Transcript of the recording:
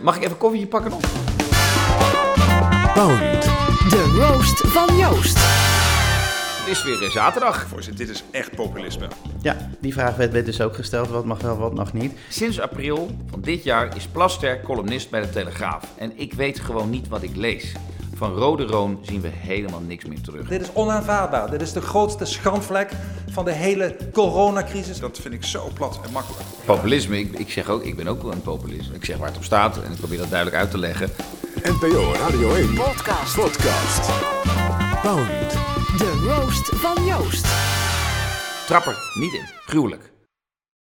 Mag ik even koffietje pakken nog? Pound. De roast van Joost. Het is weer eh, zaterdag. Voorzitter, dit is echt populisme. Ja, die vraag werd, werd dus ook gesteld. Wat mag wel, wat mag niet. Sinds april van dit jaar is Plaster columnist bij de Telegraaf. En ik weet gewoon niet wat ik lees. Van Rode Roon zien we helemaal niks meer terug. Dit is onaanvaardbaar. Dit is de grootste schandvlek van de hele coronacrisis. Dat vind ik zo plat en makkelijk. Populisme, ik, ik zeg ook, ik ben ook wel een populist. Ik zeg waar het op staat en ik probeer dat duidelijk uit te leggen. NPO Radio 1. Podcast. Podcast. Pound. De roast van Joost. Trapper niet in. Gruwelijk.